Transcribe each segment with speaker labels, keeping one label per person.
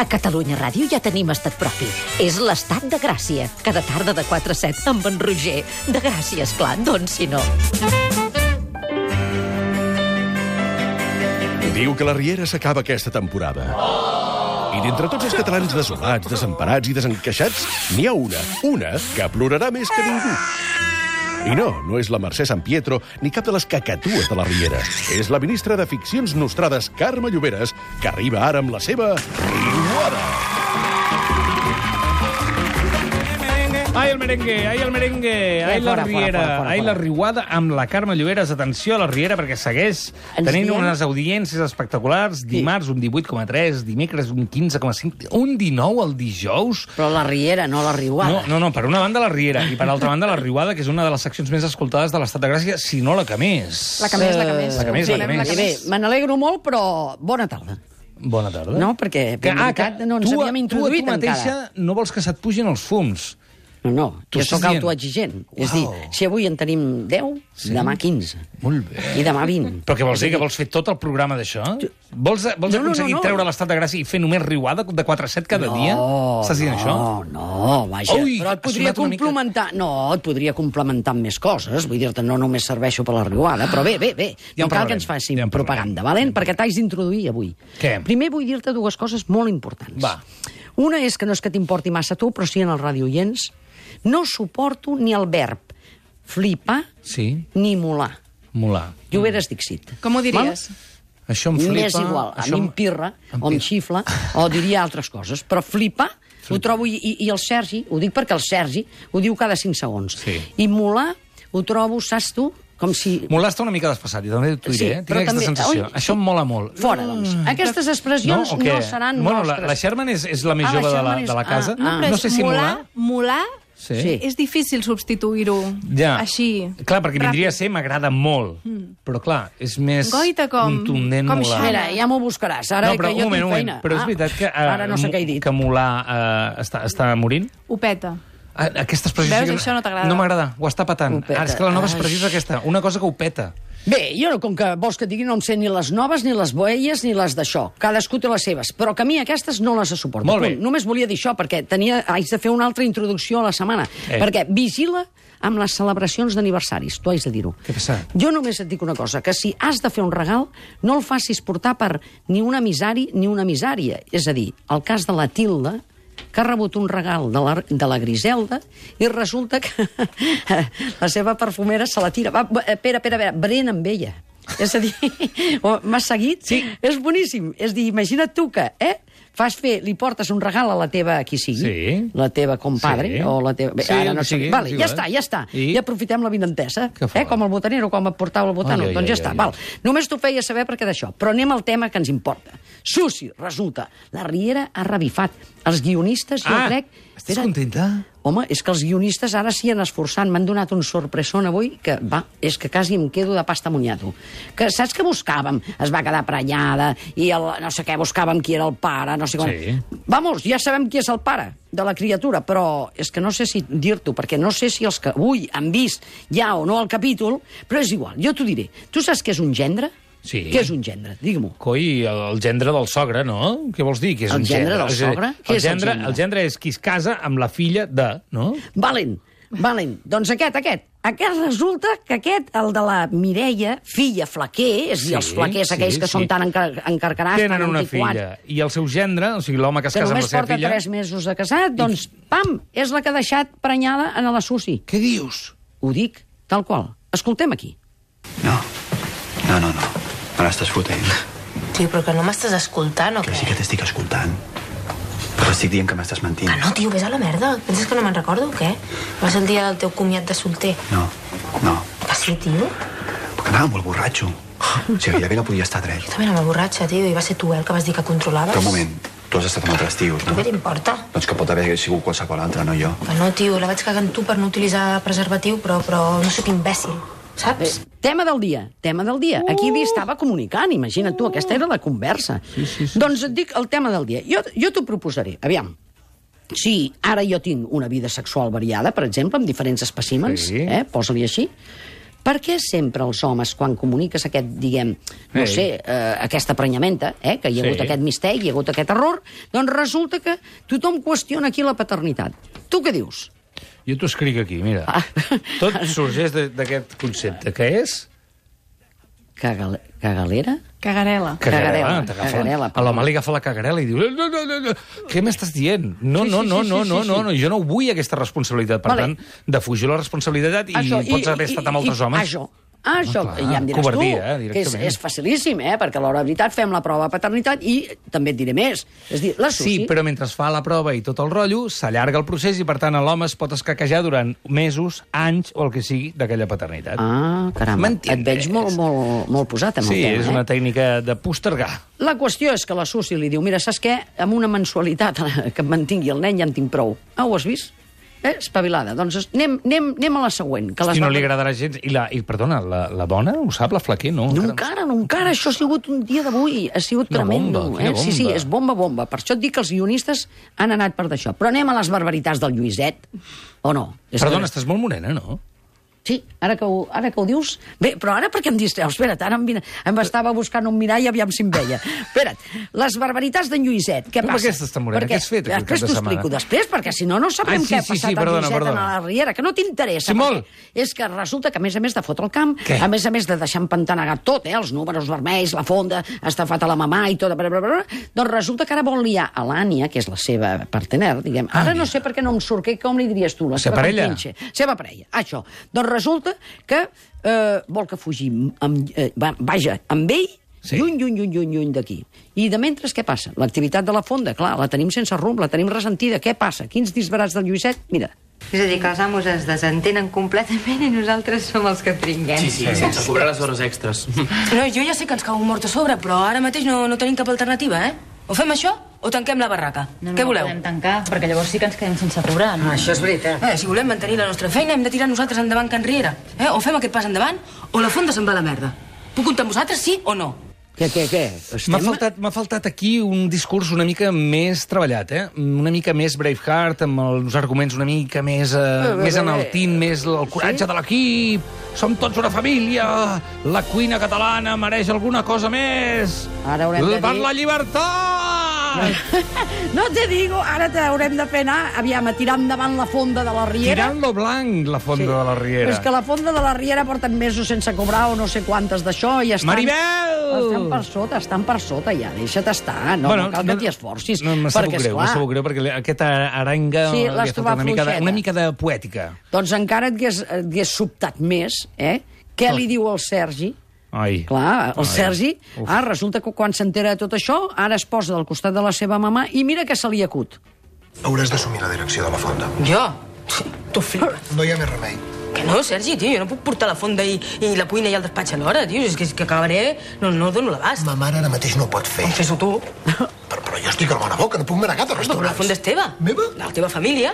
Speaker 1: A Catalunya Ràdio ja tenim estat propi. És l'estat de Gràcia. Cada tarda de 4 a 7 amb en Roger. De Gràcia, esclar, doncs si no.
Speaker 2: Diu que la Riera s'acaba aquesta temporada. I d'entre tots els catalans desolats, desemparats i desencaixats, n'hi ha una, una, que plorarà més que ningú. I no, no és la Mercè San Pietro ni cap de les cacatues de la Riera. És la ministra de Ficcions Nostrades, Carme Lloberes, que arriba ara amb la seva riuada.
Speaker 3: Ai, el merengue, ai, el merengue, ai, la
Speaker 4: Eh, fora, fora,
Speaker 3: riera,
Speaker 4: fora, fora,
Speaker 3: ai, la
Speaker 4: fora.
Speaker 3: riuada amb la Carme Lloberes. Atenció a la riera, perquè segueix
Speaker 4: Ens
Speaker 3: tenint
Speaker 4: diem-
Speaker 3: unes audiències espectaculars. Dimarts un 18,3, dimecres un 15,5, un 19 el dijous.
Speaker 4: Però la Riera, no la Riuada.
Speaker 3: No, no, no, per una banda la Riera i per altra banda la Riuada, que és una de les seccions més escoltades de l'Estat de Gràcia, si no la que més.
Speaker 5: La que més, la que més.
Speaker 3: La que més, la que
Speaker 5: Confirmem
Speaker 3: més. Eh?
Speaker 4: Bé, me n'alegro molt, però bona tarda.
Speaker 3: Bona tarda.
Speaker 4: No, perquè, ben veritat, no ens havíem introduït
Speaker 3: ah, tu, tu mateixa
Speaker 4: encara.
Speaker 3: no vols que se't pugin els fums.
Speaker 4: No, no,
Speaker 3: Tu
Speaker 4: jo
Speaker 3: estàs
Speaker 4: sóc
Speaker 3: dient-
Speaker 4: autoexigent. És a
Speaker 3: Uau.
Speaker 4: dir, si avui en tenim 10, sí? demà 15.
Speaker 3: Molt bé.
Speaker 4: I demà 20.
Speaker 3: Però què vols dir? Que vols fer tot el programa d'això? Vols, vols
Speaker 4: No, no,
Speaker 3: aconseguir
Speaker 4: no, no.
Speaker 3: treure l'estat de gràcia i fer només riuada de 4 a 7 cada dia? Estàs dient
Speaker 4: Oh, no,
Speaker 3: això?
Speaker 4: No, no, vaja.
Speaker 3: Ui,
Speaker 4: però et
Speaker 3: ha
Speaker 4: podria
Speaker 3: sonat una mica-
Speaker 4: complementar... No, et podria complementar amb més coses. Vull dir-te, no només serveixo per la riuada, però bé, bé, bé.
Speaker 3: Ja en
Speaker 4: no cal
Speaker 3: parlarem,
Speaker 4: que ens facin
Speaker 3: ja en parlarem.
Speaker 4: propaganda, valent? Perquè t'haig d'introduir avui.
Speaker 3: Què?
Speaker 4: Primer vull dir-te dues coses molt importants.
Speaker 3: Va.
Speaker 4: Una és que no és que t'importi massa a tu, però sí en els radioients. No suporto ni el verb flipar
Speaker 3: Sí,
Speaker 4: ni molar.
Speaker 3: molar.
Speaker 4: Lloberes Dixit.
Speaker 5: Com ho diries?
Speaker 3: Això em flipa.
Speaker 4: M'és igual, a
Speaker 3: això
Speaker 4: mi em pirra, o em xifla, o diria altres coses. Però flipar, ho trobo... I, i- I el Sergi, ho dic perquè el Sergi ho diu cada 5 segons.
Speaker 3: Sí.
Speaker 4: I molar, ho trobo, saps tu, com si...
Speaker 3: Molar està una mica despassat, i també t'ho diré.
Speaker 4: Sí,
Speaker 3: eh? Tinc
Speaker 4: però
Speaker 3: aquesta
Speaker 4: també-
Speaker 3: sensació.
Speaker 4: oi?
Speaker 3: Això em mola molt. Ah.
Speaker 4: Fora, doncs. Aquestes expressions
Speaker 3: Mm, o què?
Speaker 4: no seran
Speaker 3: bueno,
Speaker 4: nostres.
Speaker 3: La, la Sherman és, és la més
Speaker 4: Ah, la
Speaker 3: jove de, la,
Speaker 4: Sherman és-
Speaker 3: de la casa.
Speaker 4: ah, ah. No, però
Speaker 3: no sé si molar...
Speaker 5: Molar,
Speaker 3: Sí.
Speaker 4: Sí.
Speaker 5: és difícil substituir-ho
Speaker 3: Ja.
Speaker 5: així. Mm.
Speaker 3: Clar, perquè vindria a ser m'agrada molt. Però clar, és més
Speaker 5: Goita com-
Speaker 3: contundent
Speaker 5: com
Speaker 3: molar.
Speaker 5: Sherman.
Speaker 4: Mira, ja m'ho buscaràs, ara
Speaker 3: no, però
Speaker 4: que jo
Speaker 3: un moment,
Speaker 4: tinc
Speaker 3: un
Speaker 4: feina.
Speaker 3: moment. Però és
Speaker 4: Ah,
Speaker 3: veritat que, eh,
Speaker 4: ara no sé què he dit.
Speaker 3: que Molar eh, està, està morint?
Speaker 5: Ho peta.
Speaker 3: Ah, Aquesta expressió...
Speaker 5: Veus,
Speaker 3: sí que
Speaker 5: això no t'agrada.
Speaker 3: No m'agrada, ho està petant.
Speaker 4: Ho peta.
Speaker 3: Ah, és que la nova
Speaker 4: Ai.
Speaker 3: expressió és aquesta, una cosa que ho peta.
Speaker 4: Bé, jo, com que vols que et digui, no em sé ni les noves, ni les boelles, ni les d'això. Cadascú té les seves, però que a mi aquestes no les suporto.
Speaker 3: Molt bé.
Speaker 4: Punt. Només volia dir això, perquè tenia, haig de fer una altra introducció a la setmana.
Speaker 3: Eh.
Speaker 4: Eh. Perquè vigila amb les celebracions d'aniversaris, tu haig de dir-ho.
Speaker 3: Què passa?
Speaker 4: Jo només et dic una cosa, que si has de fer un regal, no el facis portar per ni una misari ni una misària. És a dir, el cas de la Tilda, que ha rebut un regal de la, de la Griselda i resulta que la seva perfumera se la tira. Va, va, eh, espera, espera, espera, brena amb ella. És a dir, o- m'ha seguit? Sí. És boníssim. És a dir, imagina't tu que, eh? Fas fer, li portes un regal a la teva, qui sigui,
Speaker 3: Sí.
Speaker 4: la teva compadre,
Speaker 3: Sí.
Speaker 4: o la teva... Bé,
Speaker 3: Sí,
Speaker 4: ara
Speaker 3: el
Speaker 4: no
Speaker 3: que
Speaker 4: sé.
Speaker 3: sigui,
Speaker 4: vale,
Speaker 3: és
Speaker 4: ja
Speaker 3: igual.
Speaker 4: està, ja està.
Speaker 3: I?
Speaker 4: I aprofitem la vinentesa,
Speaker 3: Què fa?
Speaker 4: eh? com el botanero, com em portava el botano.
Speaker 3: Ai, ai,
Speaker 4: doncs
Speaker 3: ai,
Speaker 4: ja està,
Speaker 3: ai,
Speaker 4: val.
Speaker 3: ai.
Speaker 4: Només t'ho feia saber perquè d'això. Però anem al tema que ens importa. Susi, resulta, la Riera ha revifat. Els guionistes, jo
Speaker 3: Ah,
Speaker 4: crec...
Speaker 3: estàs contenta?
Speaker 4: Home, és que els guionistes ara s'hi han esforçant. M'han donat un sorpresón avui que, va, és que quasi em quedo de pasta munyato. Que saps que buscàvem? Es va quedar prenyada i el, no sé què, buscàvem qui era el pare, no sé com.
Speaker 3: Sí.
Speaker 4: Vamos, ja sabem qui és el pare de la criatura, però és que no sé si dir-t'ho, perquè no sé si els que avui han vist ja o no el capítol, però és igual, jo t'ho diré. Tu saps què és un gendre?
Speaker 3: Sí.
Speaker 4: Què és un gendre? Digue-m'ho.
Speaker 3: Coi, el, el gendre del sogre, no? Què vols dir? Que és un
Speaker 4: El gendre del
Speaker 3: És a dir,
Speaker 4: sogre? Què
Speaker 3: El
Speaker 4: és el
Speaker 3: gendre,
Speaker 4: gendre?
Speaker 3: el gendre és qui es casa amb la filla de, no?
Speaker 4: Valen, valen. Doncs aquest, aquest. Aquest resulta que aquest, el de la Mireia, filla flaquer, és a dir, els
Speaker 3: Sí,
Speaker 4: flaquers
Speaker 3: sí,
Speaker 4: aquells que
Speaker 3: sí.
Speaker 4: són tan encar encarcarats,
Speaker 3: Tenen
Speaker 4: tan
Speaker 3: una
Speaker 4: antiquats,
Speaker 3: filla. I el seu gendre, o sigui, l'home que es
Speaker 4: que
Speaker 3: casa amb la
Speaker 4: només
Speaker 3: seva
Speaker 4: porta
Speaker 3: filla...
Speaker 4: tres mesos de casat, doncs, pam, és la que ha deixat prenyada en la Susi.
Speaker 3: Què dius?
Speaker 4: Ho dic, tal qual. Escoltem aquí.
Speaker 6: No, no, no, no. Me n'estàs fotent.
Speaker 7: Tio, però que no m'estàs escoltant o
Speaker 6: Que
Speaker 7: què?
Speaker 6: sí que t'estic escoltant. Però estic dient que m'estàs mentint.
Speaker 7: Que no, tio, vés a la merda. Penses que no me'n recordo o què? Va ser el dia del teu comiat de solter.
Speaker 6: No, no.
Speaker 7: Que sí, tio?
Speaker 6: Perquè anava molt borratxo. O sigui, gairebé no podia estar dret.
Speaker 7: També anava borratxa, tio, i va ser tu eh, el que vas dir que controlaves.
Speaker 6: Però un moment, tu has estat amb altres tios,
Speaker 7: Què
Speaker 6: no?
Speaker 7: t'importa?
Speaker 6: Doncs que pot haver sigut qualsevol altre, no jo.
Speaker 7: Que no, tio, la vaig cagar en tu per no utilitzar preservatiu, però, però no sóc imbècil,
Speaker 4: Bé,
Speaker 7: saps?
Speaker 4: Eh, tema del dia, tema del dia. Aquí li estava comunicant, imagina't tu, aquesta era la conversa. Uh! Sí, sí, sí. Doncs et dic el tema del dia. Jo, jo t'ho proposaré, aviam. Si ara jo tinc una vida sexual variada, per exemple, amb diferents espècimens,
Speaker 3: Sí.
Speaker 4: eh, posa-li així, Per què sempre els homes, quan comuniques aquest, diguem, no
Speaker 3: Ei.
Speaker 4: sé, eh, aquesta prenyamenta, eh, que hi ha
Speaker 3: Sí.
Speaker 4: hagut aquest misteri, hi ha hagut aquest error, doncs resulta que tothom qüestiona aquí la paternitat. Tu què dius?
Speaker 3: Jo t'ho escric aquí, mira.
Speaker 4: Ah.
Speaker 3: Tot sorgeix de- d'aquest concepte, que és...
Speaker 4: Cagal cagalera?
Speaker 5: Cagarela.
Speaker 4: Cagarela, eh?
Speaker 3: t'agafa la-
Speaker 4: cagarela,
Speaker 3: A
Speaker 4: perdó.
Speaker 3: l'home li agafa la cagarela i diu... "Eh, No, no, no, no. Què m'estàs dient? No,
Speaker 4: Sí,
Speaker 3: no,
Speaker 4: sí,
Speaker 3: no,
Speaker 4: sí,
Speaker 3: no,
Speaker 4: sí,
Speaker 3: no,
Speaker 4: sí,
Speaker 3: no,
Speaker 4: sí.
Speaker 3: no, jo no vull aquesta responsabilitat. Per
Speaker 4: Vale.
Speaker 3: tant, defujo la responsabilitat i
Speaker 4: Això,
Speaker 3: pots haver estat amb altres homes.
Speaker 4: Això, això,
Speaker 3: Ah,
Speaker 4: no,
Speaker 3: clar.
Speaker 4: ja em diràs
Speaker 3: Covardia, eh,
Speaker 4: tu, que és,
Speaker 3: directament.
Speaker 4: és facilíssim, eh? perquè a l'hora de veritat fem la prova de paternitat i també et diré més. És a dir, l'associ...
Speaker 3: Sí, però mentre es fa la prova i tot el rotllo, s'allarga el procés i, per tant, l'home es pot escaquejar durant mesos, anys o el que sigui d'aquella paternitat.
Speaker 4: Ah, caramba, et
Speaker 3: M'entiendes?
Speaker 4: veig molt, molt, molt posat amb
Speaker 3: sí,
Speaker 4: el tema.
Speaker 3: és una
Speaker 4: eh?
Speaker 3: tècnica de postergar.
Speaker 4: La qüestió és que la Susi li diu, mira, saps què? Amb una mensualitat que em mantingui el nen ja en tinc prou. Ah, ho has vist? Eh? Espavilada. Doncs es- anem, anem, anem a la següent. Que
Speaker 3: I
Speaker 4: va-
Speaker 3: no li agradarà gens. I, la, i perdona, la, la dona ho sap, la flaquer, no?
Speaker 4: No,
Speaker 3: Encara
Speaker 4: encara, no, encara. Això ha sigut un dia d'avui. Ha sigut
Speaker 3: Quina
Speaker 4: tremendo.
Speaker 3: bomba,
Speaker 4: eh?
Speaker 3: quina
Speaker 4: Sí, sí,
Speaker 3: bomba.
Speaker 4: és bomba, bomba. Per això et dic que els guionistes han anat per d'això. Però anem a les barbaritats del Lluiset, o no? És que-
Speaker 3: Perdona, estàs molt morena, no?
Speaker 4: Sí, ara que, ho, ara que ho dius... Bé, però ara perquè em distreus? Espera't, ara em, vine- em estava buscant un mirall i aviam si em veia. Espera't, les barbaritats d'en Lluiset, què
Speaker 3: Tu per
Speaker 4: passa?
Speaker 3: què estàs tan morena? Què has fet aquest cap
Speaker 4: Després
Speaker 3: de
Speaker 4: t'ho
Speaker 3: setmana?
Speaker 4: explico, després, perquè si no, no sabrem
Speaker 3: Ah, sí,
Speaker 4: què ha
Speaker 3: sí,
Speaker 4: passat
Speaker 3: sí,
Speaker 4: amb
Speaker 3: perdona,
Speaker 4: Lluiset
Speaker 3: perdona.
Speaker 4: a la Riera, que no t'interessa.
Speaker 3: Sí, molt.
Speaker 4: perquè És que resulta que, a més a més de fotre el camp,
Speaker 3: Què?
Speaker 4: a més a més de deixar empantanegar tot, eh, els números vermells, la fonda, estafat a la mamà i tot, bla, bla, bla, bla, doncs resulta que ara vol liar a l'Ània, que és la seva partener, diguem. Ara no sé per què no em surt, què, com li diries tu? La
Speaker 3: Ser
Speaker 4: seva
Speaker 3: parella?
Speaker 4: compinxa. Seva parella, això. Doncs resulta que eh, vol que fugim amb, eh, va- vaja, amb ell
Speaker 3: Sí.
Speaker 4: sí. lluny, lluny, lluny, lluny, lluny d'aquí. I de mentre, què passa? L'activitat de la fonda, clar, la tenim sense rumb, la tenim ressentida. Què passa? Quins disbarats del Lluiset? Mira,
Speaker 8: És a dir, que els amos es desentenen completament i nosaltres som els que pringuem.
Speaker 9: Sí, sí, sense cobrar les hores extres.
Speaker 7: No, jo ja sé que ens cau un mort a sobre, però ara mateix no, no tenim cap alternativa, eh? O fem això o tanquem la barraca.
Speaker 8: No, no,
Speaker 7: Què voleu?
Speaker 8: No podem tancar, perquè llavors sí que ens quedem sense cobrar. No? Això és veritat.
Speaker 7: Eh, si volem mantenir la nostra feina, hem de tirar nosaltres endavant Can Riera. Eh? O fem aquest pas endavant, o la fonda se'n va a la merda. Puc comptar amb vosaltres, sí o no?
Speaker 4: què, què, què?
Speaker 3: M'ha faltat, m'ha faltat aquí un discurs una mica més treballat, eh? Una mica més Braveheart, amb els arguments una mica més, eh,
Speaker 4: bé,
Speaker 3: més
Speaker 4: bé.
Speaker 3: enaltint, més el coratge de l'equip. Som tots una família. La cuina catalana mereix alguna cosa més.
Speaker 4: Ara haurem de
Speaker 3: Per
Speaker 4: dir-
Speaker 3: la llibertat!
Speaker 4: No te digo, ara t'haurem de fer anar, aviam, a tirar endavant la fonda de la Riera.
Speaker 3: Tirant lo blanc, la fonda de la Riera.
Speaker 4: Però és que la fonda de la Riera porten mesos sense cobrar o no sé quantes d'això i estan...
Speaker 3: Maribel!
Speaker 4: Estan per sota, estan per sota ja, deixa't estar, no, bueno, no cal que t'hi esforcis.
Speaker 3: No, me sap
Speaker 4: perquè,
Speaker 3: greu, me
Speaker 4: esclar,
Speaker 3: sap greu, perquè li- aquesta arenga
Speaker 4: Sí,
Speaker 3: li ha
Speaker 4: l'has
Speaker 3: faltat
Speaker 4: trobat
Speaker 3: una mica, de,
Speaker 4: fluixeta.
Speaker 3: una mica de poètica.
Speaker 4: Doncs encara et hagués, et hagués sobtat més, eh? Què li diu el Sergi?
Speaker 3: Ai.
Speaker 4: Clar, el
Speaker 3: Ai.
Speaker 4: Sergi,
Speaker 3: Uf.
Speaker 4: ah, resulta que quan s'entera de tot això, ara es posa del costat de la seva mamà i mira que se li acut.
Speaker 6: Hauràs d'assumir la direcció de la fonda.
Speaker 7: Jo? Tu flipes.
Speaker 6: No hi ha més remei.
Speaker 7: Que no, Sergi, tio, jo no puc portar la fonda i, i la cuina i el despatx alhora, tio. És que, és que acabaré... No, no dono l'abast.
Speaker 6: Ma mare ara mateix no ho pot fer.
Speaker 7: Doncs Fes-ho tu.
Speaker 6: Però, però jo estic amb la boca, no puc manegar de
Speaker 7: Però la
Speaker 6: restaurants.
Speaker 7: fonda és teva.
Speaker 6: Meva?
Speaker 7: De la teva família.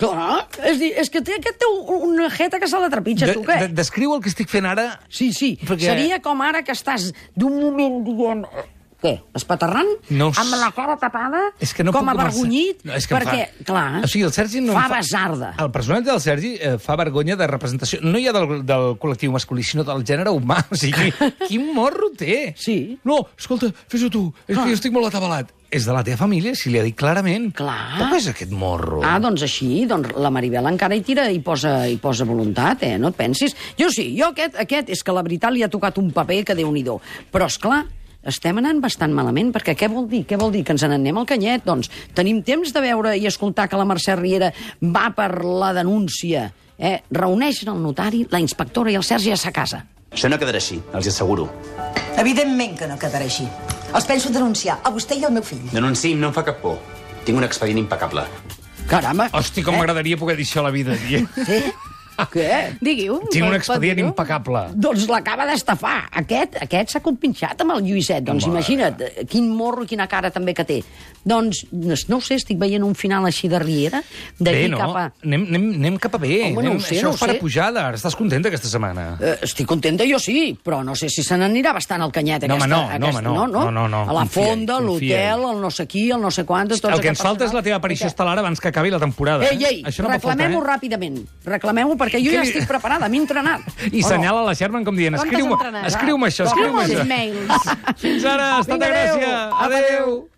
Speaker 4: Clar, és, dir, és que té, aquest té un- una jeta que se la trepitja, tu, què?
Speaker 3: de, descriu el que estic fent ara
Speaker 4: Sí, sí.
Speaker 3: Perquè-
Speaker 4: Perquè... Seria com ara que estàs d'un moment, diguem... eh, Què? Espaterrant?
Speaker 3: No ho
Speaker 4: amb
Speaker 3: sé.
Speaker 4: la cara tapada?
Speaker 3: És que no
Speaker 4: com
Speaker 3: puc amb el
Speaker 4: avergonyit?
Speaker 3: Ser- No, és que em
Speaker 4: perquè,
Speaker 3: fa...
Speaker 4: clar...
Speaker 3: O sigui, el Sergi no em
Speaker 4: fa... Fa besarda.
Speaker 3: El personatge del Sergi eh, fa vergonya de representació, no ja del, del col·lectiu masculí, sinó del gènere humà. O sigui, quin morro té.
Speaker 4: Sí.
Speaker 3: No, escolta, fes-ho tu, és que
Speaker 4: Ah.
Speaker 3: jo estic molt atabalat. És de la teva família, si li ha dit clarament.
Speaker 4: Clar.
Speaker 3: Poc és aquest morro.
Speaker 4: Ah, doncs així, doncs la Maribel encara hi tira i posa, hi posa voluntat, eh? No et pensis? Jo sí, jo aquest, aquest és que la veritat li ha tocat un paper que déu nhi Però, és clar, estem anant bastant malament, perquè què vol dir? Què vol dir? Que ens n'anem al canyet? Doncs tenim temps de veure i escoltar que la Mercè Riera va per la denúncia. Eh? Reuneixen el notari, la inspectora i el Sergi a sa casa.
Speaker 9: Això no quedarà així, els hi asseguro.
Speaker 10: Evidentment que no quedarà així. Els penso denunciar, a vostè i al meu fill.
Speaker 9: Denunciïm, no em fa cap por. Tinc un expedient impecable.
Speaker 4: Caramba!
Speaker 3: Hosti, com m'agradaria poder dir això a la vida, tia.
Speaker 4: Sí? Què?
Speaker 5: Digui-ho.
Speaker 3: Tinc un
Speaker 5: pot- pot
Speaker 3: expedient
Speaker 5: dir-ho.
Speaker 3: impecable.
Speaker 4: Doncs l'acaba d'estafar. Aquest aquest s'ha compinxat amb el Lluïset. Doncs
Speaker 3: Home.
Speaker 4: imagina't, eh, quin morro, i quina cara també que té. Doncs, no no ho sé, estic veient un final així de riera, d'aquí
Speaker 3: bé, no?
Speaker 4: cap a...
Speaker 3: Anem, anem, anem cap a bé.
Speaker 4: Home, no
Speaker 3: anem,
Speaker 4: ho sé,
Speaker 3: això
Speaker 4: no ho
Speaker 3: és per a
Speaker 4: sé.
Speaker 3: pujada. Ara estàs contenta aquesta setmana.
Speaker 4: Eh, estic contenta, jo sí, però no sé si se n'anirà bastant al canyet.
Speaker 3: No, home, no, no,
Speaker 4: aquesta, aquesta,
Speaker 3: home, no. No, no, no,
Speaker 4: A la
Speaker 3: confia-hi,
Speaker 4: fonda, a
Speaker 3: confia-hi.
Speaker 4: l'hotel, el no sé qui, el no sé quantos...
Speaker 3: El que ens falta és la teva aparició estel·lar abans que acabi la temporada.
Speaker 4: Ei,
Speaker 3: eh?
Speaker 4: ei,
Speaker 3: Això no pot faltar,
Speaker 4: reclamem-ho
Speaker 3: eh?
Speaker 4: ràpidament. Reclamem-ho perquè jo
Speaker 3: Què
Speaker 4: ja
Speaker 3: li-
Speaker 4: estic preparada, m'he entrenat.
Speaker 3: I senyala la Sherman com dient,
Speaker 4: Quantes
Speaker 3: escriu-me
Speaker 4: entrenades?
Speaker 3: escriu això, escriu-me
Speaker 4: Escriu-me
Speaker 3: això.
Speaker 4: els
Speaker 5: mails.
Speaker 3: Fins ara, estat a
Speaker 4: Vinga, adéu.
Speaker 3: Gràcia. Adéu.